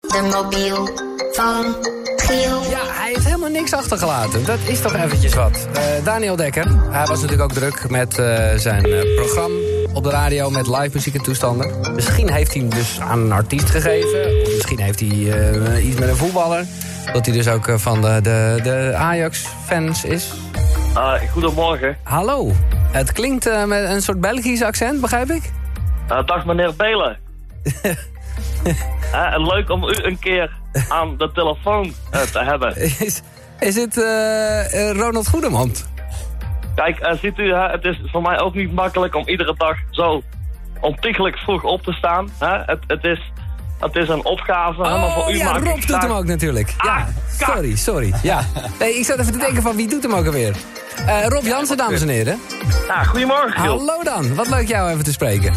De mobiel van Giel. Ja, hij heeft helemaal niks achtergelaten. Dat is toch eventjes wat. Eh, Daniel Dekker, hij was natuurlijk ook druk met eh, zijn eh, programma op de radio met live muziek en toestanden. Misschien heeft hij hem dus aan een artiest gegeven. Of misschien heeft hij eh, iets met een voetballer. Dat hij dus ook eh, van de, de, de Ajax-fans is. Ah, goedemorgen. Hallo, het klinkt eh, met een soort Belgisch accent, begrijp ik? Ah, dag meneer Belen. Ah, en leuk om u een keer aan de telefoon eh, te hebben. Is, is het eh, eh, Ronald Goedemond? Kijk, eh, ziet u, hè, het is voor mij ook niet makkelijk om iedere dag zo ontiegelijk vroeg op te staan. Hè? Het, het, is, het is een opgave, hè, maar Oh, voor u ja, maak ik Rob doet graag- hem ook natuurlijk. Ja, kak. sorry, sorry. Ja. Nee, ik zat even te denken van wie doet hem ook alweer. Eh, Rob Jansen, dames en heren. Ja, Ah, goedemorgen, Giel. Hallo dan, wat leuk jou even te spreken.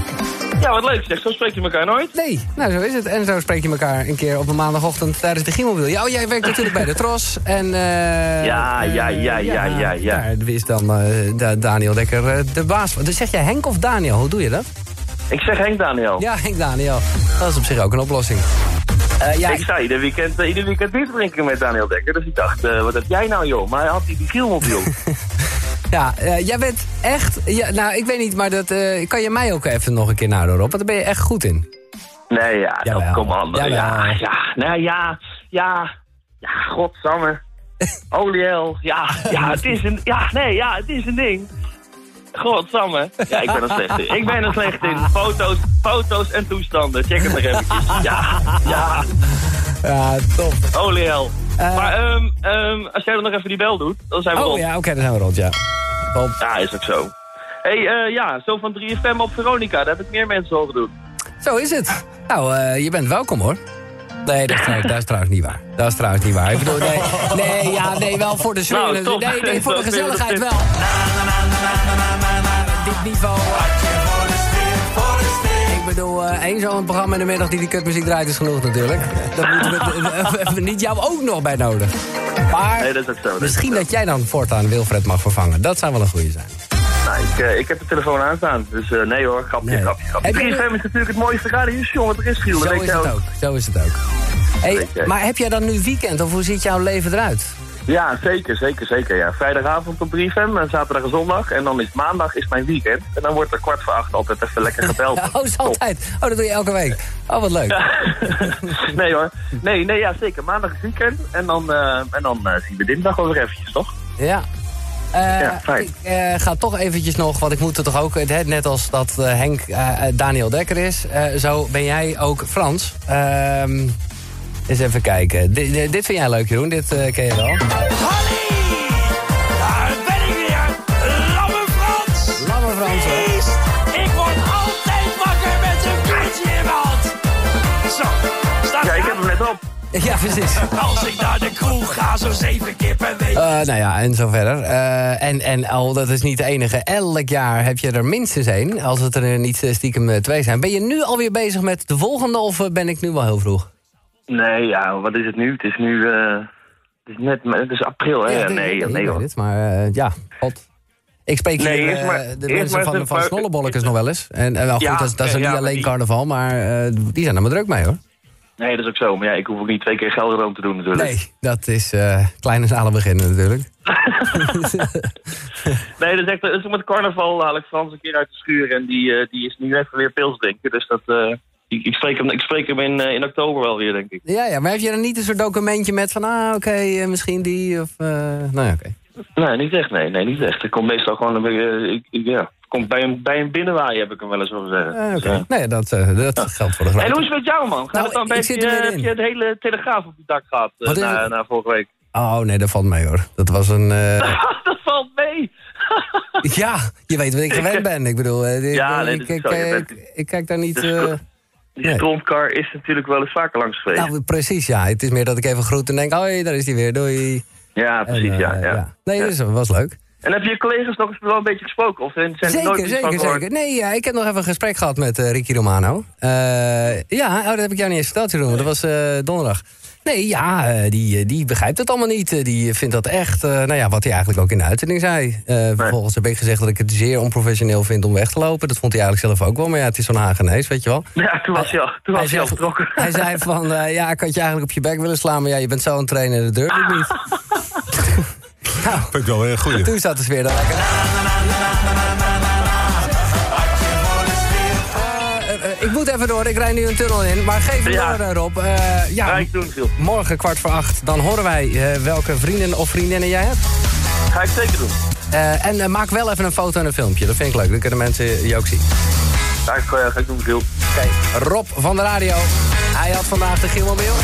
Ja, wat leuk zeg, zo spreek je elkaar nooit. Nee, nou zo is het. En zo spreek je elkaar een keer op een maandagochtend tijdens de Giemelwiel. Ja, oh, jij werkt natuurlijk bij de Tros. En, eh, Ja, ja, ja, eh, ja, ja, ja. Daar is dan eh, da- Daniel Dekker eh, de baas van. Dus zeg jij Henk of Daniel, hoe doe je dat? Ik zeg Henk Daniel. Ja, Henk Daniel. Dat is op zich ook een oplossing. Eh, ja, Ik sta ieder weekend, eh, ieder weekend bier te drinken met Daniel Dekker. Dus ik dacht, eh, wat heb jij nou joh? Maar hij had die Gielmobiel. Ja, eh, jij bent echt... Ja, nou, ik weet niet, maar dat eh, kan je mij ook even nog een keer nadoen, Rob? Want daar ben je echt goed in. Nee, ja, Jawel. dat kom aan. Ja, Jawel. ja, nou ja, ja, ja, godsamme. Oliel, ja, ja, het is een, ja, nee, ja, het is een ding. Godsamme. Ja, ik ben er slecht in. Ik ben er slecht in. Foto's, foto's en toestanden. Check het nog eventjes. Ja, ja, Ja, top. Oliel. Maar ehm, ehm, als jij dan nog even die bel doet, dan zijn we Eh. Oh rond. ja, oké, dan zijn we rond, ja. Top. Ja, is ook zo. hey, eh, ja, zo van 3FM op Veronica. Daar heb ik meer mensen horen doen. Zo is het. Nou, eh, je bent welkom, hoor. Nee, dat is, trouwens, dat is trouwens niet waar. Dat is trouwens niet waar. Ik bedoel, nee, nee, ja, nee wel voor de sfeer. Nou, top. nee, nee, voor de Dat vinden we gezelligheid wel. dit. Dit niveau. Ik bedoel, eh, één zo'n programma in de middag die die kutmuziek draait is genoeg natuurlijk. Daar moeten we, daar hebben we niet jou ook nog bij nodig. Maar Nee, dat is ook zo. Dat is misschien dat jij dan voortaan Wilfred mag vervangen. Dat zou wel een goede zijn. Nou, ik, eh, ik heb de telefoon aanstaan, dus eh, nee hoor, grapje, Nee. grapje, grapje. Heb je- 3FM is natuurlijk het mooiste radiostation wat er is, Giel. dat Zo weet is jij het ook. ook. Zo is het ook. Hey, Weet jij. maar heb jij dan nu weekend of hoe ziet jouw leven eruit? Ja, zeker, zeker, zeker. Ja. Vrijdagavond op 3FM en zaterdag en zondag. En dan is maandag is mijn weekend. En dan wordt er kwart voor acht altijd even lekker gebeld. Oh, is altijd. Oh, dat doe je elke week. Oh, wat leuk. Top. nee hoor. Nee, nee, ja, zeker. Maandag is weekend. En dan, eh, en dan eh, zien we dinsdag wel weer eventjes, toch? Ja. Eh, Ja, fijn. ik eh, ga toch eventjes nog, want ik moet er toch ook... eh, Net als dat eh, Henk eh, eh, Daniel Dekker is, eh, zo ben jij ook Frans. Ehm, eens even kijken. Di- di- dit vind jij leuk, Jeroen. Dit eh, ken je wel. Holly! Daar ben ik weer! Lamme Frans! Lamme Frans, hoor. Beest! Ik word altijd wakker met een biertje in mijn hand! Zo, staat Ja, ik heb hem net op. Ja, precies. Als ik naar de kroeg ga, zo zeven keer per week. Eh, nou ja, en zo verder. Eh, en, en al, dat is niet de enige. Elk jaar heb je er minstens één, als het er niet eh, stiekem eh, twee zijn. Ben je nu alweer bezig met de volgende of eh, ben ik nu wel heel vroeg? Nee, ja, wat is het nu? Het is nu... eh, het is, net, het is april, hè? Ja, nee, nee, ik weet hoor. het, maar eh, ja, god. Ik spreek Nee, hier eerst eh, maar- de eerst mensen maar van, even- van maar- Snollebollekes nog wel eens. En, en wel goed, Ja, dat, is- dat is oké, ja, niet maar alleen die- carnaval, maar eh, die zijn er maar druk mee hoor. Nee, dat is ook zo. Maar ja, ik hoef ook niet twee keer Gelderland te doen natuurlijk. Nee, dat is eh kleine zalen beginnen natuurlijk. Nee, dat is echt, dat is met carnaval haal ik Frans een keer uit de schuur en die, eh, die is nu even weer pils drinken. Dus dat, eh, ik, ik spreek hem, ik spreek hem in, eh, in oktober wel weer, denk ik. Ja, ja, maar heb je er niet een soort documentje met van, ah, oké, eh, misschien die of... eh, nou ja, oké. Nee, niet echt, nee, nee, niet echt. Ik kom meestal gewoon, een beetje, eh, ik, ik- ja, komt bij hem, bij hem binnenwaaien, heb ik hem wel eens horen zeggen. Eh, Dus, oké. eh. Nee, dat, eh, dat geldt voor de En grote. hoe is het met jou, man? Gaat Nou, het dan ik best, zit er eh, weer heb in. je het hele telegraaf op je dak gehad eh, Wat is na, het? na vorige week? Oh nee, dat valt mee hoor. Dat was een... eh, dat valt mee! ja, je weet wat ik gewend ben. Ik bedoel, eh, ik, Ja, nee, ik, dat is ik, zo, je eh, bent- ik- ik kijk daar niet... Dus dat- eh, Die Nee. stroomkar is natuurlijk wel eens vaker langs geweest. Nou, precies, ja. Het is meer dat ik even groet en denk, hoi, daar is hij weer, doei. ja, En, precies, eh, ja, ja. Nee, Ja. dat is- was leuk. En heb je je collega's nog eens wel een beetje gesproken? Of zijn er nooit zeker, iets van zeker, gehoord? zeker. Nee, ja, ik heb nog even een gesprek gehad met eh, Ricky Romano. Eh, ja, oh, dat heb ik jou niet eens verteld, Jeroen, want dat was eh, donderdag. Nee, ja, eh, die, eh, die begrijpt het allemaal niet. Eh, Die vindt dat echt, eh, nou ja, wat hij eigenlijk ook in de uitzending zei. Eh, Vervolgens heb ik gezegd dat ik het zeer onprofessioneel vind om weg te lopen. Dat vond hij eigenlijk zelf ook wel, maar ja, het is zo'n hagenees, weet je wel. Ja, toen was hij al, toen was hij zegt- al vertrokken. hij zei van, eh, ja, ik had je eigenlijk op je bek willen slaan... maar ja, je bent zo aan het trainen, dat durf ik niet. nou, Vind ik wel weer een goeie. toen zat de sfeer daar lekker. Eh, eh, eh, Ik moet even door, ik rijd nu een tunnel in. Maar geef me Ja. door, eh, Rob. Eh, Ga ja, ik doen, Giel. morgen kwart voor acht, dan horen wij eh, welke vrienden of vriendinnen jij hebt. Ga ik zeker doen. Eh, en eh, maak wel even een foto en een filmpje, dat vind ik leuk. Dan kunnen mensen je ook zien. Ga ik, eh, ga ik doen, Giel. Oké, Rob van de radio. Hij had vandaag de Gielmobiel.